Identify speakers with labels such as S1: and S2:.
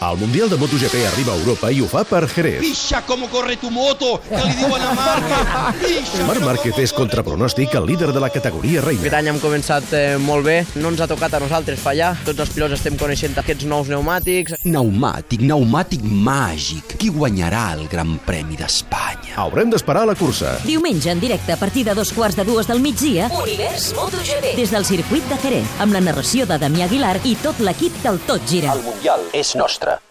S1: El Mundial de MotoGP arriba a Europa i ho fa per Jerez.
S2: Pixa com corre tu moto, que li diuen a Marc. Pixa
S1: Marc Márquez és contra pronòstic el líder de la categoria
S3: Aquest
S1: reina.
S3: any hem començat eh, molt bé, no ens ha tocat a nosaltres fallar, tots els pilots estem coneixent aquests nous pneumàtics.
S4: Pneumàtic, pneumàtic màgic. Qui guanyarà el Gran Premi d'Espanya?
S1: Haurem d'esperar a la cursa.
S5: Diumenge en directe a partir de dos quarts de dues del migdia
S6: Univers MotoGP.
S5: des del circuit de Jerez amb la narració de Damià Aguilar i tot l'equip del Tot Gira.
S7: Mundial és nostre.